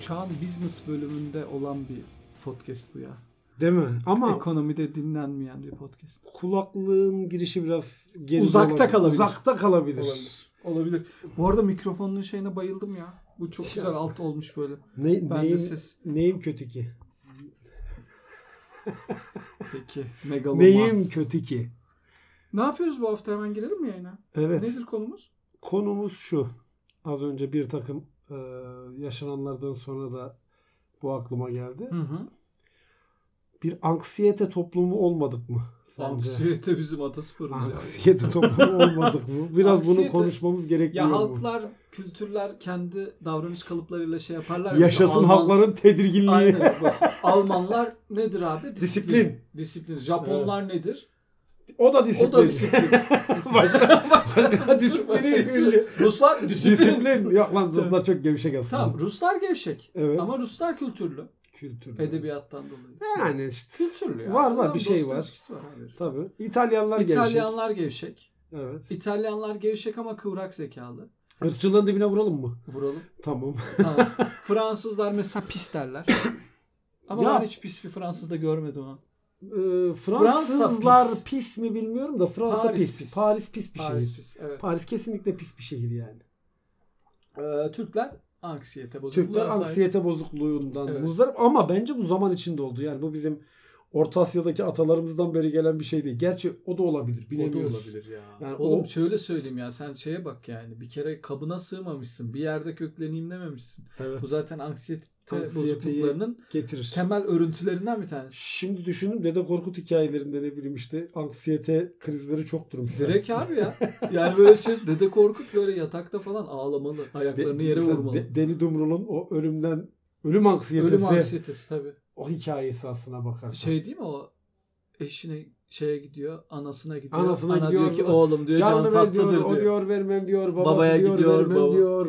çağın business bölümünde olan bir podcast bu ya. Değil mi? E, Ama Ekonomide dinlenmeyen bir podcast. kulaklığın girişi biraz geri Uzakta kalabilir. Uzakta kalabilir. Olabilir. Olabilir. Bu arada mikrofonun şeyine bayıldım ya. Bu çok güzel alt olmuş böyle. Ne, Ben neyim, de ses. neyim kötü ki? Peki. Megaloman. Neyim kötü ki? Ne yapıyoruz bu hafta hemen girelim mi yayına? Evet. Nedir konumuz? Konumuz şu. Az önce bir takım e, yaşananlardan sonra da bu aklıma geldi. Hı hı. Bir anksiyete toplumu olmadık mı? Sence? Anksiyete bizim atasporumuz. ya. Anksiyete toplumu olmadık mı? Biraz bunu Anksiyete- konuşmamız gerekmiyor Ya mu? halklar, kültürler kendi davranış kalıplarıyla şey yaparlar. ya. Yaşasın Alman- halkların tedirginliği. Aynen. bak, Almanlar nedir abi? Disiplin. Disiplin. Japonlar nedir? O da disiplin. O da disiplin. Başka- başka şey disiplini başka- bilmiyor. Ruslar disiplin. Disiplin. Yok lan Ruslar çok gevşek aslında. Tamam Ruslar gevşek. Evet. Ama Ruslar kültürlü. Kültür. Edebiyattan dolayı. Yani işte. Kültürlü ya. Var, var, Adam bir şey dostu var. ilişkisi abi. Tabii. İtalyanlar gevşek. İtalyanlar gevşek. Evet. İtalyanlar gevşek ama kıvrak zekalı. Irkçılığın dibine vuralım mı? Vuralım. Tamam. Ha, Fransızlar mesela pis derler. Ama Ya- ben hiç pis bir Fransız da görmedim ha. Ee, Fransa Fransızlar pis. pis. mi bilmiyorum da Fransa Paris pis. pis. Paris pis bir şey. Paris şehir. pis. Evet. Paris kesinlikle pis bir şehir yani. Ee, Türkler anksiyete bozukluğu. Türkler anksiyete bozukluğundan Evet. muzdarip ama bence bu zaman içinde oldu. Yani bu bizim Orta Asya'daki atalarımızdan beri gelen bir şey değil. Gerçi o da olabilir. O da Bilemiyoruz. olabilir ya. Yani Oğlum o- şöyle söyleyeyim ya sen şeye bak yani bir kere kabına sığmamışsın. Bir yerde kökleneyim dememişsin. Evet. Bu zaten anksiyete Anksiyeteyi- bozukluklarının Getirir. temel örüntülerinden bir tanesi. Şimdi düşünün Dede Korkut hikayelerinde ne bileyim işte anksiyete krizleri çoktur mesela. Direkt abi ya. Yani böyle şey Dede Korkut böyle yatakta falan ağlamalı. De- Ayaklarını yere mesela vurmalı. De- Deli Dumrul'un o ölümden ölüm anksiyetesi Ölüm anksiyetesi tabii. o hikayesi aslına bakarsan. Şey değil mi o eşine şeye gidiyor, anasına gidiyor. Anasına Ana gidiyor, diyor ki oğlum diyor can, Canlı ver diyor, tatlıdır diyor. o diyor vermem diyor, babası Babaya diyor gidiyor, vermem baba- diyor.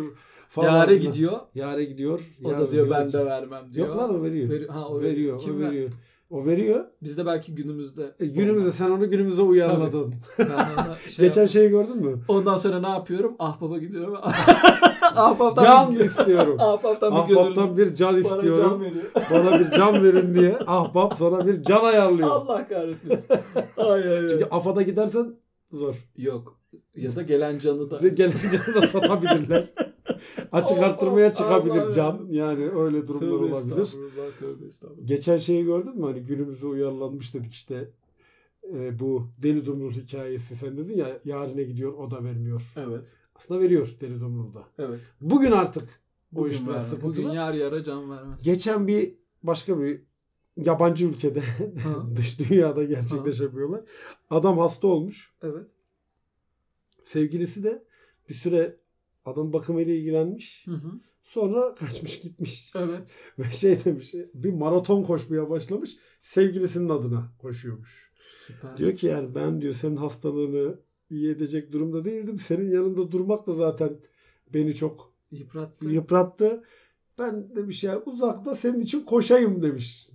Yare filan. gidiyor. Yare gidiyor. O yare da diyor ben ki- de vermem diyor. Yok lan o veriyor. Veri- ha, o veriyor. Kim o ver- veriyor. O veriyor. Biz de belki günümüzde. E, günümüze sen onu günümüze uyarladın. Ben ona şey Geçen yap- şeyi gördün mü? Ondan sonra ne yapıyorum? Ahbaba gidiyorum. Ahbaptan Can bir, istiyorum. Ahbaptan bir gönüllü. Ahbaptan bir can Bana can istiyorum. veriyor. Bana bir can verin diye ahbap sana bir can ayarlıyor. Allah kahretmesin. Ay ay ay. Çünkü afada gidersen zor. Yok. Ya da gelen canı da. Gelen canı da satabilirler. Açık Allah- arttırmaya çıkabilir Allah can. Yani öyle durumlar Tövbe olabilir. estağfurullah, tövbe estağfurullah. Geçen şeyi gördün mü? Hani günümüze uyarlanmış dedik işte. E, bu Deli Dumrul hikayesi. Sen dedin ya yarine gidiyor o da vermiyor. Evet. Aslında veriyor Deli Dumrul'da. Evet. Bugün artık o Bugün, iş biraz vermez. sıkıntılı. Bugün yar yara can vermez. Geçen bir başka bir yabancı ülkede Ha. dış dünyada gerçekleşen bir olay. Adam hasta olmuş. Evet. Sevgilisi de bir süre adam bakımıyla ilgilenmiş. Hı hı. Sonra kaçmış gitmiş. Evet. Ve şey demiş bir maraton koşmaya başlamış. Sevgilisinin adına koşuyormuş. Süper. Diyor ki yani ben diyor senin hastalığını iyi edecek durumda değildim. Senin yanında durmak da zaten beni çok Yıprattı. yıprattı. Ben demiş ya uzakta senin için koşayım demiş.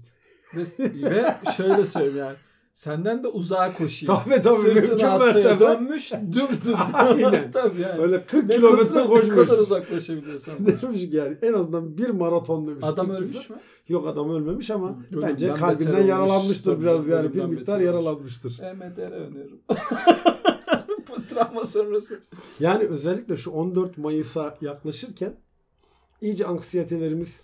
Ve, ve şöyle söyleyeyim yani. Senden de uzağa koşayım. Tabii tabii mümkün Sırtını hastaya mertebe. dönmüş dümdüz. Aynen. Tabii yani. Öyle 40 Ne kilometre kadar- koşmuş. Ne kadar uzaklaşabiliyorsan. koş. demiş ki yani en azından bir maraton demiş. Adam 40 ölmüş kilometre. mü? Yok adam ölmemiş ama Ölümden bence beter kalbinden olmuş. yaralanmıştır Tabii, biraz yani. Bir ölümden miktar beter olmuş. yaralanmıştır. EMDR öneririm. Bu Travma sonrası. Yani özellikle şu 14 Mayıs'a yaklaşırken iyice anksiyetelerimiz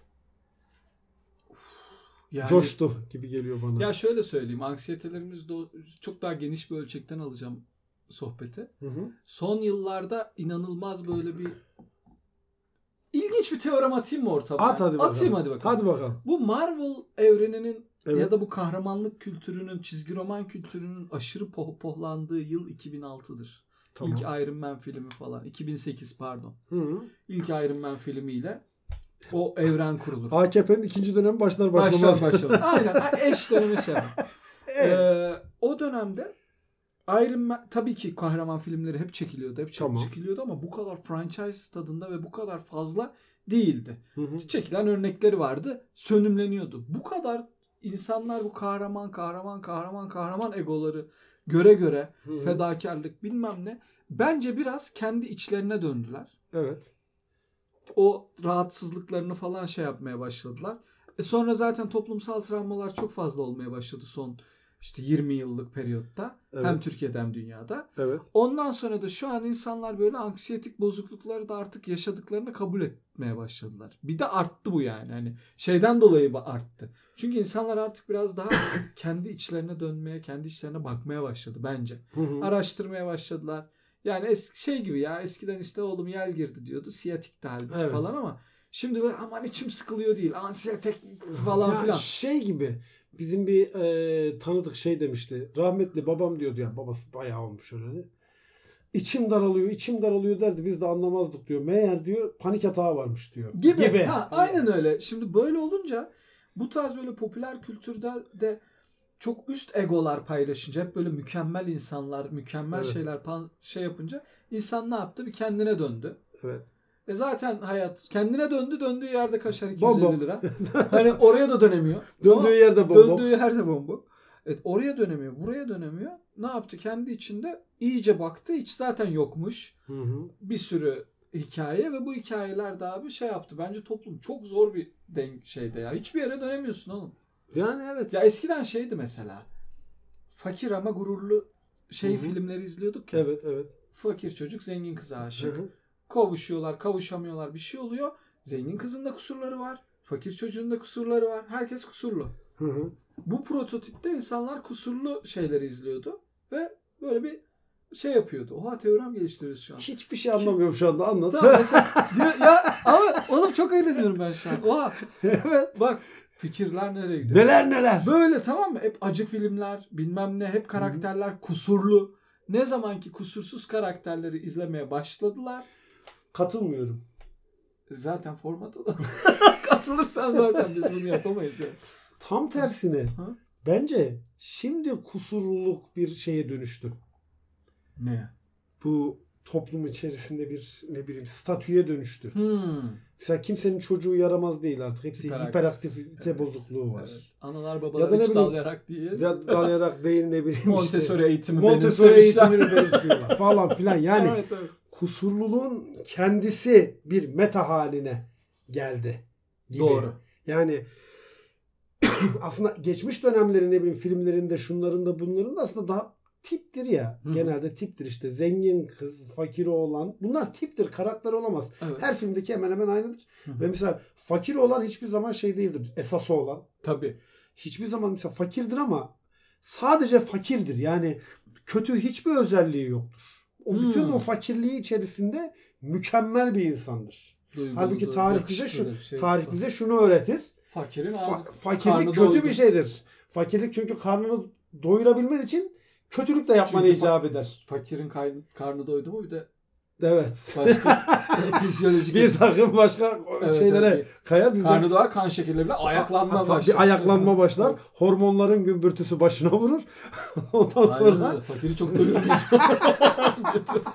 Yani, coştu gibi geliyor bana. Ya şöyle söyleyeyim. Anksiyetelerimiz do- çok daha geniş bir ölçekten alacağım sohbeti. Hı hı. son yıllarda inanılmaz böyle bir ilginç bir teorem atayım mı ortama? At hadi bakalım. Atayım hadi bakalım. Hadi bakalım. Bu Marvel evreninin Evet. ya da bu kahramanlık kültürünün, çizgi roman kültürünün aşırı poh- pohlandığı yıl 2006'dır. Tamam. İlk Iron Man filmi falan. 2008 pardon. Hı hı. İlk Iron Man filmiyle o evren kurulur. AKP'nin ikinci dönemi başlar başlamaz. Başlar başlamaz. Aynen. a- Eş dönemi şey. yapar. Evet. Ee, o dönemde Iron Man tabii ki kahraman filmleri hep çekiliyordu. Hep çek- Tamam. çekiliyordu ama bu kadar franchise tadında ve bu kadar fazla değildi. Hı hı. Çekilen örnekleri vardı. Sönümleniyordu. Bu kadar insanlar bu kahraman kahraman kahraman kahraman egoları göre göre Hı hı. fedakarlık bilmem ne bence biraz kendi içlerine döndüler. Evet. o rahatsızlıklarını falan şey yapmaya başladılar. E sonra zaten toplumsal travmalar çok fazla olmaya başladı son işte 20 yıllık periyotta. Hem Evet. Türkiye'de hem dünyada. Evet. Ondan sonra da şu an insanlar böyle anksiyetik bozuklukları da artık yaşadıklarını kabul etmeye başladılar. Bir de arttı bu yani. Hani şeyden dolayı bu arttı. Çünkü insanlar artık biraz daha kendi içlerine dönmeye, kendi içlerine bakmaya başladı bence Hı hı. araştırmaya başladılar. Yani eski şey gibi ya eskiden işte oğlum yel girdi diyordu. Siyatik de halbuki Evet. falan ama şimdi böyle aman içim sıkılıyor değil. Ansiyatek falan Ya filan. Şey gibi bizim bir e, tanıdık şey demişti. Rahmetli babam diyordu ya babası bayağı olmuş öyle. İçim daralıyor, içim daralıyor derdi. Biz de anlamazdık diyor. Meğer diyor panik atağı varmış diyor. gibi. Ha, Hani aynen öyle. Şimdi böyle olunca bu tarz böyle popüler kültürde de çok üst egolar paylaşınca hep böyle mükemmel insanlar, mükemmel Evet. şeyler pan- şey yapınca insan ne yaptı? Bir kendine döndü. Evet. E zaten hayat kendine döndü döndüğü yerde kaşar 250 Bom bom. lira. Hani oraya da dönemiyor. Ama- Döndüğü yerde bom bom. Döndüğü her zaman bu. Evet, oraya dönemiyor, buraya dönemiyor. Ne yaptı? Kendi içinde iyice baktı. Hiç zaten yokmuş. Hı hı. Bir sürü hikaye ve bu hikayeler de abi şey yaptı. Bence toplum çok zor bir denk şeyde ya. Hiçbir yere dönemiyorsun oğlum. Yani evet. Ya eskiden şeydi mesela. Fakir ama gururlu şey Hı hı. filmleri izliyorduk ya. evet evet. Fakir çocuk zengin kıza Hı aşık. hı. Kavuşuyorlar, kavuşamıyorlar bir şey oluyor. Zengin kızın da kusurları var. Fakir çocuğun da kusurları var. Herkes kusurlu. Hı hı. Bu prototipte insanlar kusurlu şeyleri izliyordu ve böyle bir şey yapıyordu. Oha teorem geliştiriyoruz şu an. Hiçbir şey anlamıyorum şu anda anlat. Tamam mesela diyor ya ama oğlum çok eğleniyorum ben şu an. Oha evet. bak fikirler nereye gidiyor? Neler neler. Böyle tamam mı? Hep acı filmler, bilmem ne, hep karakterler kusurlu. Ne zamanki kusursuz karakterleri izlemeye başladılar. Katılmıyorum. Zaten formatı da katılırsan zaten biz bunu yapamayız ya. Tam tersine. Hı? Bence şimdi kusurluluk bir şeye dönüştü. Ne? bu toplum içerisinde bir ne bileyim statüye dönüştü. Hmm. Mesela kimsenin çocuğu yaramaz değil artık. Hepsi Hiperaktif. hiperaktifite Evet, bozukluğu var. Evet. Analar Ya da babalar ne hiç bileyim, dalayarak diye. Ya Dalayarak değil ne bileyim işte. Montessori eğitimi Montessori benimsemişler. eğitimini benimsiyorlar falan filan. Yani Evet, evet. kusurluluğun kendisi bir meta haline geldi. Gibi. Doğru. Yani aslında geçmiş dönemlerin ne bileyim filmlerinde şunların da bunların da aslında daha tiptir ya. Hı hı. Genelde tiptir işte. Zengin kız, fakir oğlan. Bunlar tiptir. Karakter olamaz. Evet. Her filmdeki hemen hemen aynıdır. Hı hı. Ve mesela fakir olan hiçbir zaman şey değildir. Esası olan. Tabii. Hiçbir zaman mesela fakirdir ama sadece fakirdir. Yani kötü hiçbir özelliği yoktur. O bütün Hmm. o fakirliği içerisinde mükemmel bir insandır. Duygulu, Halbuki doğru. tarih bize Yakışıklı şu- bir şey. Tarih bize şunu öğretir. Fakirin ağzı. Fa- fakirlik karnı kötü doydu. bir şeydir. Fakirlik çünkü karnını doyurabilmen için kötülük de yapmanı Çünkü fa- icap eder. Fakirin kay- karnı doydu mu bir de Evet. başka fizyolojik bir takım başka Evet, şeylere evet. kayar. Biz de- Karnı doyar kan şekerleri bile Ha, ayaklanma tabii başlar. ayaklanma başlar. Hormonların gümbürtüsü başına vurur. Ondan Aynen öyle. sonra Fakiri çok doyurmayacak.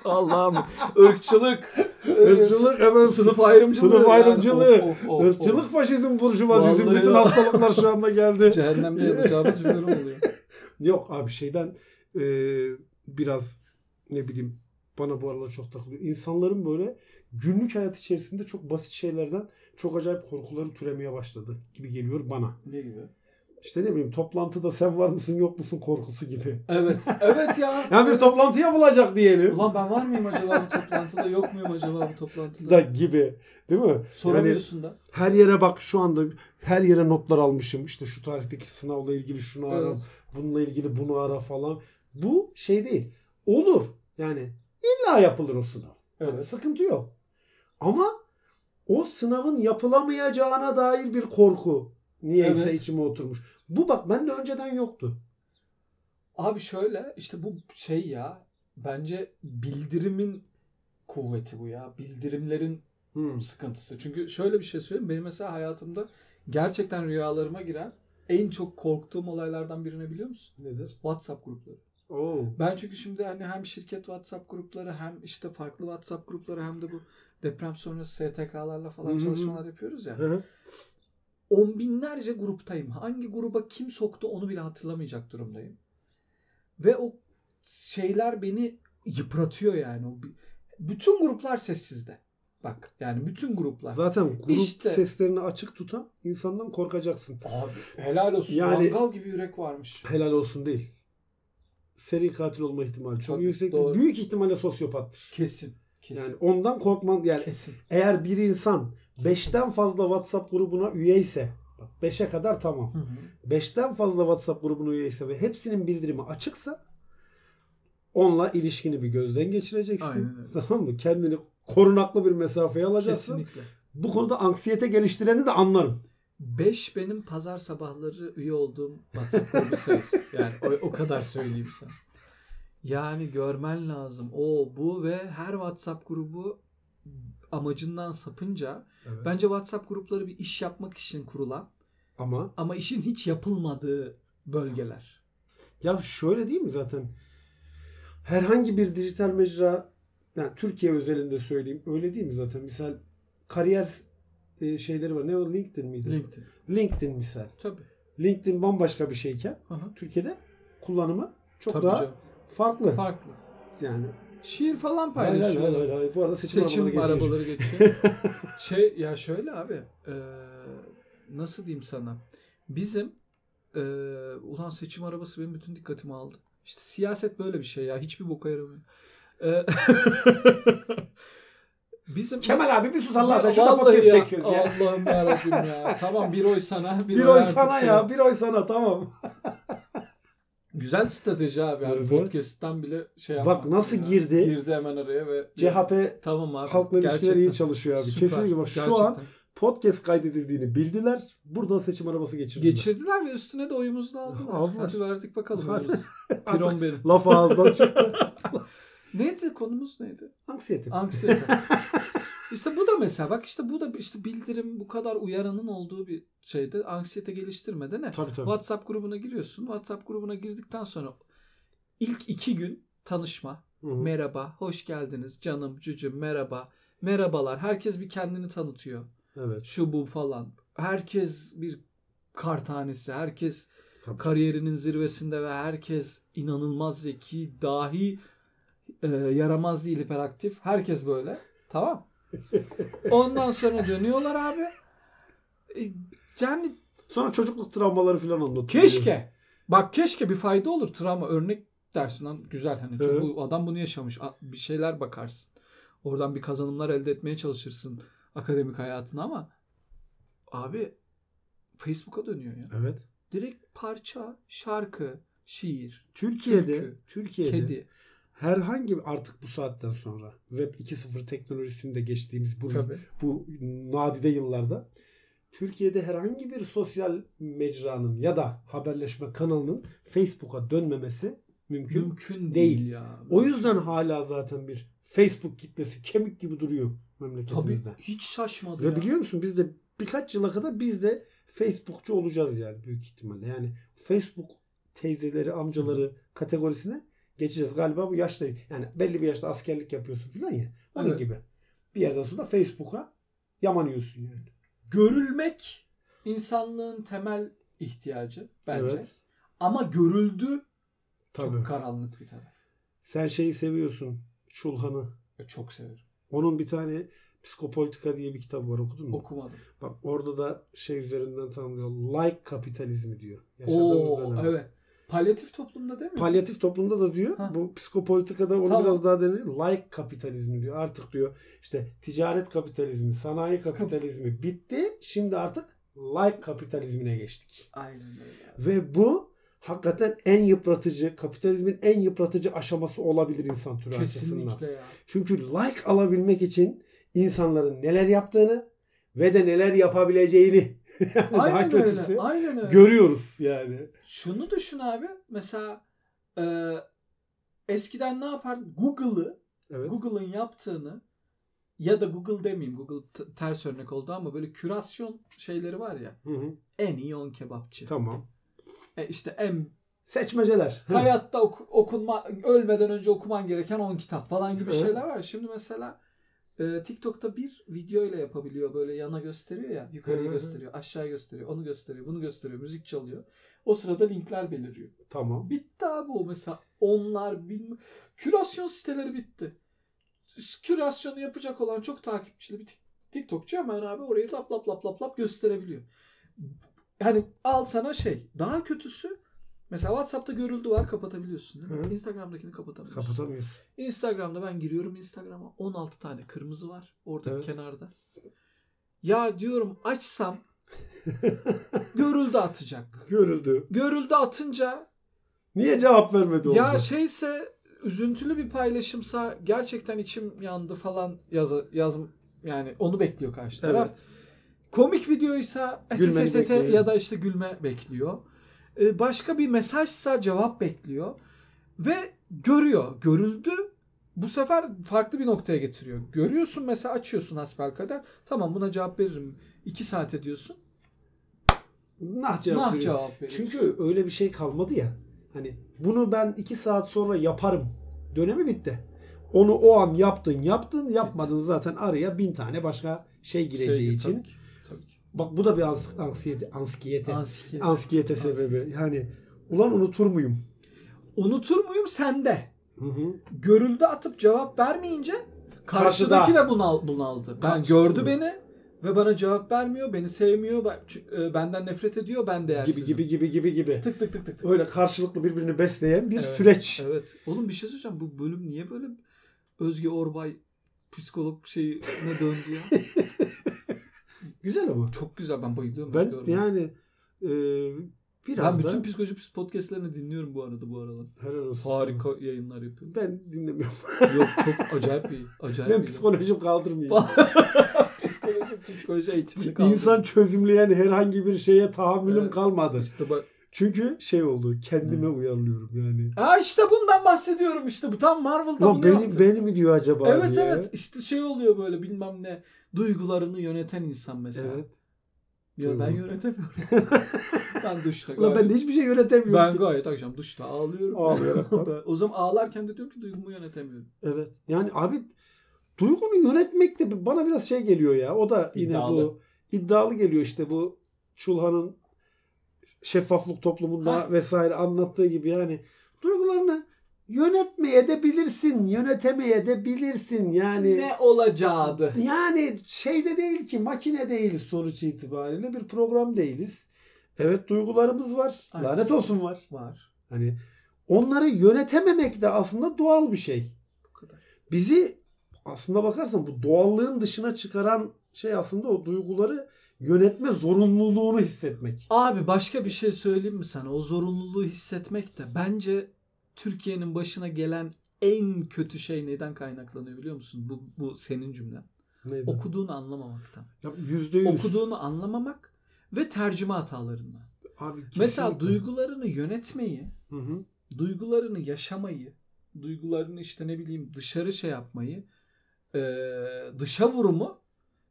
Allah'ım. Irkçılık. ırkçılık hemen Sınıf ayrımcılığı. Sınıf yani. ayrımcılığı. Of, of, of, of. Irkçılık, faşizm, burjuvazizm Vallahi bütün ya. hastalıklar şu anda geldi. Cehennemde yanacağımız bir durum oluyor. Yok abi şeyden e, biraz ne bileyim bana bu aralar çok takılıyor. İnsanların böyle günlük hayat içerisinde çok basit şeylerden çok acayip korkuları türemeye başladı gibi geliyor bana. Ne gibi? İşte ne bileyim toplantıda sen var mısın yok musun korkusu gibi. Evet. Evet ya. Yani bir toplantı yapılacak diyelim. Ulan ben var mıyım acaba bu toplantıda? Yok muyum acaba bu toplantıda? da gibi. Değil mi? Soramıyorsun da. Her yere bak şu anda her yere notlar almışım. İşte şu tarihteki sınavla ilgili şunu ara, Evet. bununla ilgili bunu ara falan. Bu şey değil. Olur. Yani illa yapılır o sınav. Yani Evet. sıkıntı yok. Ama o sınavın yapılamayacağına dair bir korku niyeyse Evet. içime oturmuş. Bu bak bende önceden yoktu. Abi şöyle işte bu şey ya bence bildirimin kuvveti bu ya. Bildirimlerin Hmm. sıkıntısı. Çünkü şöyle bir şey söyleyeyim. Benim mesela hayatımda gerçekten rüyalarıma giren en çok korktuğum olaylardan birini biliyor musun? Nedir? WhatsApp grupları. Oo. Ben çünkü şimdi hani hem şirket WhatsApp grupları hem işte farklı WhatsApp grupları hem de bu deprem sonrası STK'larla Hı falan hı. çalışmalar yapıyoruz ya. Hı hı. on binlerce gruptayım. Hangi gruba kim soktu onu bile hatırlamayacak durumdayım. Ve o şeyler beni yıpratıyor yani. O bi- Bütün gruplar sessizde. Bak yani bütün gruplar. Zaten grup İşte. seslerini açık tutan insandan korkacaksın. Abi helal olsun. Yani- Mangal gibi yürek varmış. Helal olsun değil. Seri katil olma ihtimali çok Tabii, yüksek. doğru. Büyük ihtimalle sosyopattır. Kesin. Kesin. Yani ondan korkman yani kesin. eğer bir insan 5'ten fazla WhatsApp grubuna üye ise bak 5'e kadar tamam. Hı hı. 5'ten fazla WhatsApp grubuna üyeyse ve hepsinin bildirimi açıksa onunla ilişkini bir gözden geçireceksin. Aynen öyle. Tamam mı? Kendini korunaklı bir mesafeye alacaksın. Kesinlikle. Bu konuda anksiyete geliştireni de anlarım. 5 benim pazar sabahları üye olduğum WhatsApp grubu sayısı. Yani o, o kadar söyleyeyim sana. Yani görmen lazım. O, bu ve her WhatsApp grubu amacından sapınca bence WhatsApp grupları bir iş yapmak için kurulan Ama ama işin hiç yapılmadığı bölgeler. ya şöyle değil mi zaten? Herhangi bir dijital mecra yani Türkiye özelinde söyleyeyim. Öyle değil mi zaten? Misal kariyer e, şeyleri var. Ne o? LinkedIn miydi? LinkedIn. LinkedIn misal. Tabii. LinkedIn bambaşka bir şeyken Hı hı. Türkiye'de kullanımı çok Tabii daha canım. farklı. Farklı. Yani Şiir falan Hayır, hayır, paylaşıyor. hayır, hayır, hayır. Bu arada seçim, seçim, arabaları geçiyor. arabaları geçiyor. şey ya şöyle abi eee, nasıl diyeyim sana bizim eee, ulan seçim arabası benim bütün dikkatimi aldı. İşte siyaset böyle bir şey ya hiçbir boka yaramıyor. Eee, bizim Kemal abi bir sus Allah sen Ya şurada vallahi podcast ya, çekiyoruz ya. Allah'ım yarabbim ya. Tamam bir oy sana bir, Bir oy artık sana şey. ya. Bir oy sana tamam. Güzel strateji abi. Yani Evet. Podcast'tan bile şey Bak yapmadım nasıl ya. girdi? Girdi hemen araya ve CHP tamam abi. halkla ilişkileri iyi gerçekten. çalışıyor abi. Süper, Kesinlikle bak şu gerçekten. an podcast kaydedildiğini bildiler. Buradan seçim arabası geçirdiler. Geçirdiler ve üstüne de oyumuzu da aldılar. Aldılar. Hadi verdik bakalım. Hadi. oyumuzu. Artık Piron benim. Laf ağızdan çıktı. Neydi konumuz neydi? Anksiyete. Anksiyete. işte bu da mesela bak işte bu da işte bildirim bu kadar uyaranın olduğu bir şeyde anksiyete geliştirmede ne? Tabii tabii. WhatsApp grubuna giriyorsun. WhatsApp grubuna girdikten sonra ilk iki gün tanışma, Hı hı. merhaba, hoş geldiniz, canım, cücüm, merhaba, merhabalar. Herkes bir kendini tanıtıyor. Evet. Şu bu falan. Herkes bir kar tanesi, herkes Tabii. kariyerinin zirvesinde ve herkes inanılmaz zeki, dahi e, yaramaz değil hiperaktif. Herkes böyle. Tamam. Ondan sonra dönüyorlar abi. E, Yani Sonra çocukluk travmaları falan anlatıyor. keşke. Bak keşke bir fayda olur. Travma örnek dersin lan güzel hani. Çünkü Evet. bu adam bunu yaşamış. A- Bir şeyler bakarsın. Oradan bir kazanımlar elde etmeye çalışırsın akademik hayatına ama abi Facebook'a dönüyor ya. Evet. Direkt parça, şarkı, şiir. Türkiye'de, Türkü, Türkiye'de Kedi. herhangi bir- artık bu saatten sonra Web 2.0 teknolojisinde geçtiğimiz bu Tabii. bu nadide yıllarda Türkiye'de herhangi bir sosyal mecranın ya da haberleşme kanalının Facebook'a dönmemesi mümkün. Mümkün değil. değil, ya. O yüzden hala zaten bir Facebook kitlesi kemik gibi duruyor tabii memleketimizde. hiç şaşmadı Ve ya. biliyor musun biz de birkaç yıla kadar biz de Facebookçu olacağız yani büyük ihtimalle. Yani Facebook teyzeleri, amcaları kategorisine geçeceğiz. Galiba bu yaşta yani belli bir yaşta askerlik yapıyorsun falan ya. Onun Evet. gibi. Bir yerden sonra Facebook'a yamanıyorsun yani. Görülmek insanlığın temel ihtiyacı bence. Evet. Ama görüldü Tabii. çok karanlık bir taraf. Sen şeyi seviyorsun. Şulhan'ı. E, Çok severim. Onun bir tane Psikopolitika diye bir kitabı var okudun mu? Okumadım. Bak orada da şey üzerinden tanımlıyor. Like kapitalizmi diyor. Yaşadığımız Oo dönem. evet. Palyatif toplumda değil mi? Palyatif toplumda da diyor. Ha. Bu psikopolitikada onu Tamam. biraz daha denir. Like kapitalizmi diyor. Artık diyor işte ticaret kapitalizmi, sanayi kapitalizmi bitti. Şimdi artık like kapitalizmine geçtik. Aynen öyle. abi. Ve bu hakikaten en yıpratıcı, kapitalizmin en yıpratıcı aşaması olabilir insan türü açısından. Kesinlikle ya. Çünkü like alabilmek için insanların neler yaptığını ve de neler yapabileceğini yani daha Aynen kötüsü öyle. Aynen öyle. görüyoruz yani. Şunu düşün abi. Mesela e, eskiden ne yapar? Google'ı Evet. Google'ın yaptığını ya da Google demeyeyim Google t- ters örnek oldu ama böyle kürasyon şeyleri var ya Hı hı. en iyi 10 kebapçı. Tamam. E işte en Seçmeceler. Hı. hayatta oku- okunma ölmeden önce okuman gereken 10 kitap falan gibi Evet. şeyler var. Şimdi mesela e, TikTok'ta bir video ile yapabiliyor böyle yana gösteriyor ya Hı yukarıyı hı. gösteriyor aşağı gösteriyor onu gösteriyor bunu gösteriyor müzik çalıyor. O sırada linkler beliriyor. Tamam. Bitti abi o mesela onlar bilmem. Kürasyon siteleri bitti. kürasyonu yapacak olan çok takipçili bir tik- TikTokçu hemen abi orayı lap lap lap lap lap gösterebiliyor. Yani al sana şey. Daha kötüsü mesela WhatsApp'ta görüldü var kapatabiliyorsun değil mi? Hı. Instagram'dakini kapatamıyorsun. Kapatamıyorsun. Instagram'da ben giriyorum Instagram'a 16 tane kırmızı var orada Evet. kenarda. Ya diyorum açsam görüldü atacak. Görüldü. Görüldü atınca Niye cevap vermedi olacak? ya şey, şeyse üzüntülü bir paylaşımsa gerçekten içim yandı falan yaz, yaz yani onu bekliyor karşı taraf. evet. Komik videoysa Gülmeni SSSS bekliyor. ya da işte gülme bekliyor. Ee, Başka bir mesajsa cevap bekliyor. Ve görüyor. Görüldü. Bu sefer farklı bir noktaya getiriyor. Görüyorsun mesela açıyorsun hasbelkader. Tamam buna cevap veririm. 2 saat ediyorsun. Nah cevap Cevap nah veriyor. cevap veriyorsun. Çünkü öyle bir şey kalmadı ya. Hani bunu ben iki saat sonra yaparım. Dönemi bitti. Onu o an yaptın yaptın yapmadın zaten araya bin tane başka şey gireceği Sevgi, için. tabii ki, tabii ki. Bak bu da bir ans- ansiyete, anskiyete, Ansiklopedi. anskiyete Ansiyete. sebebi. Yani ulan unutur muyum? Unutur muyum sende? Hı hı. Görüldü atıp cevap vermeyince karşıdaki de bunal, bunaldı. Ben Karşı- gördü beni ve bana cevap vermiyor, beni sevmiyor, ben- çü- e, benden nefret ediyor, ben Gibi değersizim. gibi gibi gibi gibi. Tık tık tık tık tık. Öyle karşılıklı birbirini besleyen bir Evet, süreç. Evet. Oğlum bir şey söyleyeceğim. Bu bölüm niye böyle Özge Orbay psikolog şeyine döndü ya? Güzel ama. Çok güzel. Ben bayılıyorum Özge Ben Orbay'a. yani e, biraz ben da bütün psikoloji podcastlerini dinliyorum bu arada bu aralar. helal olsun. Harika yayınlar yapıyor. Ben dinlemiyorum. Yok çok acayip bir acayip Ben bir- psikolojim kaldırmıyor. psikoloji psikoloji eğitimini kaldı. İnsan çözümleyen herhangi bir şeye tahammülüm Evet. kalmadı. işte bak Çünkü şey oldu. Kendime uyarlıyorum yani. Ha işte bundan bahsediyorum işte bu tam Marvel'da Lan bunu beni, yaptı. beni mi diyor acaba evet diye. evet işte şey oluyor böyle bilmem ne duygularını yöneten insan mesela. Evet. Ya ben Duygu. yönetemiyorum. ben duşta Ulan ben gayet, de hiçbir şey yönetemiyorum. ben ki. gayet akşam duşta ağlıyorum. Ağlayaraktan. Ben- o zaman ağlarken de diyorum ki duygumu yönetemiyorum. Evet. Yani abi duygunu yönetmek de bana biraz şey geliyor ya. O da yine bu İddialı. iddialı geliyor işte bu Çulhan'ın şeffaflık toplumunda Ha. vesaire anlattığı gibi yani duygularını yönetmeye de bilirsin, yönetemeye de bilirsin. Yani ne olacağıdı? yani şeyde değil ki makine değiliz sonuç itibariyle bir program değiliz. Evet duygularımız var. Aynen. Lanet olsun var. Var. Hani onları yönetememek de aslında doğal bir şey Bu kadar. bizi aslında bakarsan bu doğallığın dışına çıkaran şey aslında o duyguları yönetme zorunluluğunu hissetmek. Abi başka bir şey söyleyeyim mi sana? O zorunluluğu hissetmek de bence Türkiye'nin başına gelen en kötü şey neden kaynaklanıyor biliyor musun? Bu, bu senin cümlen. Neydi? Okuduğunu anlamamaktan. Ya Yüzde yüz. Okuduğunu anlamamak ve tercime hatalarından. Abi kesinlikle. Mesela duygularını yönetmeyi, Hı hı. duygularını yaşamayı, duygularını işte ne bileyim dışarı şey yapmayı, eee, dışa vurumu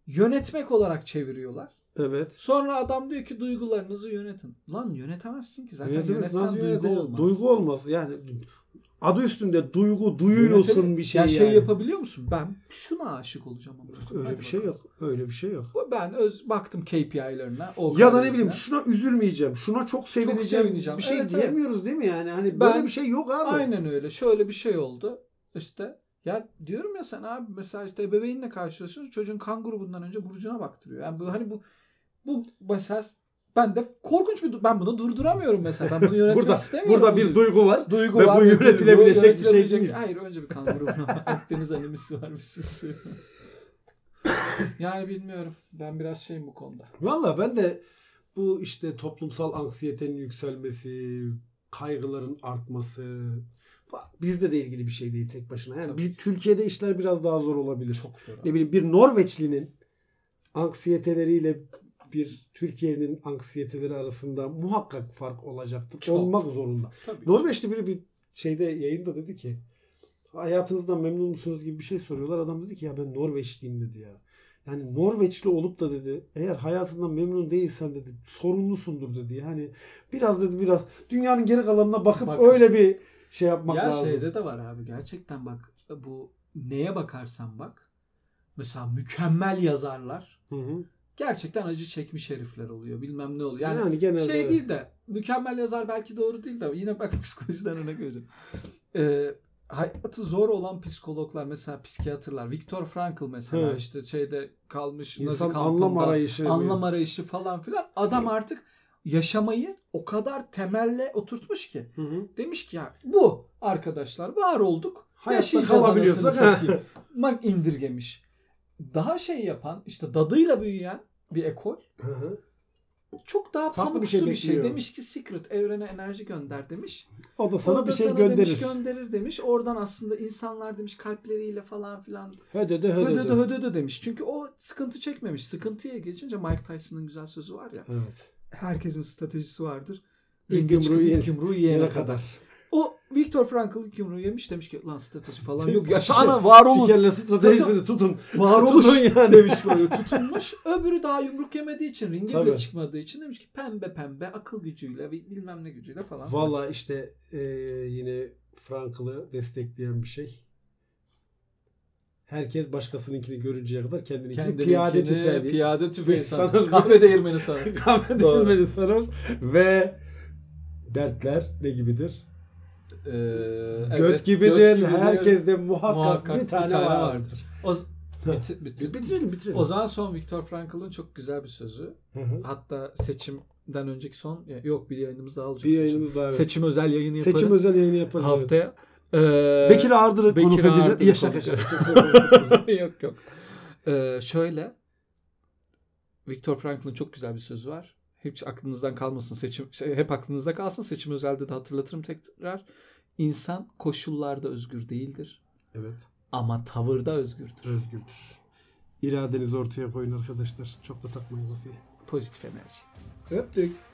yönetmek olarak çeviriyorlar. Evet. Sonra adam diyor ki duygularınızı yönetin. Lan yönetemezsin ki zaten Yönetimiz yönetsen nasıl duygu yönetilir? olmaz. Duygu olmaz. Yani adı üstünde duygu duyuyorsun Yönetemi- bir şey ya yani. şey yapabiliyor musun? Ben şuna aşık olacağım ama. Öyle Hadi bir şey bakalım. yok. Öyle bir şey yok. Bu- Ben öz baktım KPI'lerine. o Ya da ne kadarıyla. bileyim şuna üzülmeyeceğim, şuna çok sevineceğim, sevineceğim. bir şey Evet, evet. diyemiyoruz değil mi yani? Hani Ben- böyle bir şey yok abi. Aynen öyle. Şöyle bir şey oldu. İşte ya diyorum ya sen abi mesela işte ebeveynle karşılaşıyorsun. Çocuğun kan grubundan önce burcuna baktırıyor. Yani bu hani bu bu mesela ben de korkunç bir du- ben bunu durduramıyorum mesela. Ben bunu yönetmek Burada- istemiyorum. Burada bir duygu var. duygu ve var. bu bir duygu, yönetilebilecek bir şey yönetilebilecek- değil. Hayır önce bir kan grubuna bak. Akdeniz animesi var bir sürü. yani bilmiyorum. Ben biraz şeyim bu konuda. Valla ben de bu işte toplumsal anksiyetenin yükselmesi, kaygıların artması bak bizde de ilgili bir şey değil tek başına. Yani Tabii. biz Türkiye'de işler biraz daha zor olabilir. Çok zor. Ne bileyim bir Norveçlinin anksiyeteleriyle bir Türkiye'nin anksiyeteleri arasında muhakkak fark olacaktır. Çok. Olmak zorunda. Tabii. Norveçli biri bir şeyde yayında dedi ki hayatınızdan memnun musunuz gibi bir şey soruyorlar. Adam dedi ki ya ben Norveçliyim dedi ya. Yani Norveçli olup da dedi eğer hayatından memnun değilsen dedi sorumlusundur dedi. Yani biraz dedi biraz dünyanın geri kalanına bakıp Bak. öyle bir şey yapmak ya lazım. şeyde de var abi gerçekten bak bu neye bakarsan bak mesela mükemmel yazarlar Hı hı. gerçekten acı çekmiş herifler oluyor bilmem ne oluyor. Yani, Yani, genelde şey değil de mükemmel yazar belki doğru değil de yine bak psikolojiden örnek vereceğim. Ee, hayatı zor olan psikologlar mesela psikiyatrlar Viktor Frankl mesela Hı. işte şeyde kalmış Nazi İnsan kampında, anlam arayışı. anlam arayışı falan filan adam artık yaşamayı o kadar temelle oturtmuş ki Hı hı. demiş ki ya bu arkadaşlar var olduk Hayatta yaşayacağız kalabiliyorsak. anasını satayım. Bak indirgemiş. Daha şey yapan işte dadıyla büyüyen bir ekol Hı hı. çok daha Farklı bir pamuksu bir şey şey, bekliyor. demiş ki Secret evrene enerji gönder demiş. o da O sana da bir şey sana gönderir. Demiş, gönderir demiş. Oradan aslında insanlar demiş kalpleriyle falan filan Hödödö hödödö. hödödö hödödö demiş. Çünkü o sıkıntı çekmemiş. Sıkıntıya geçince Mike Tyson'ın güzel sözü var ya. Evet. Herkesin stratejisi vardır. İlk Yenge çıkıp yumruğu ilk yene- yumruğu Yere yiyene kadar. kadar. O Viktor Frankl ilk yumruğu yemiş demiş ki lan strateji falan yok. Yaşa ana var olun. Sikerle stratejisini tutun. Var Tutun olun. yani. demiş böyle tutunmuş. Öbürü daha yumruk yemediği için, ringe bile Tabii. çıkmadığı için demiş ki pembe pembe akıl gücüyle ve bilmem ne gücüyle falan. Valla işte e, yine Frankl'ı destekleyen bir şey. Herkes başkasınınkini görünceye kadar kendininkini Kendininkini piyade tüfeği. Piyade tüfeği Sarar. sarar. Kahve şey- değirmeni sarar. Kahve Doğru. değirmeni sarar ve dertler ne gibidir? Ee, göt evet, gibidir. gibidir. Herkeste muhakkak, Muhakkak bir tane, vardır. O, z- biti- Bi- biti- Bitirelim bitirelim. o zaman son Viktor Frankl'ın çok güzel bir sözü. Hı hı. Hatta seçimden önceki son yok bir yayınımız daha olacak. bir seçim. yayınımız daha var. Seçim, Seçim özel yayını yaparız. özel yayını yaparız. haftaya. Ee, Bekir Ardır'ı Bekir konuk edeceğiz. Ardır'ı Yaşa konuk yaşa. yok yok. Ee, şöyle. Viktor Frankl'ın çok güzel bir sözü var. Hiç aklınızdan kalmasın. Seçim şey, hep aklınızda kalsın. Seçim özelde de hatırlatırım tekrar. İnsan koşullarda özgür değildir evet. ama tavırda özgürdür. Özgürdür. İradenizi ortaya koyun arkadaşlar. Çok da takmayın kafayı. Pozitif enerji. Öptük.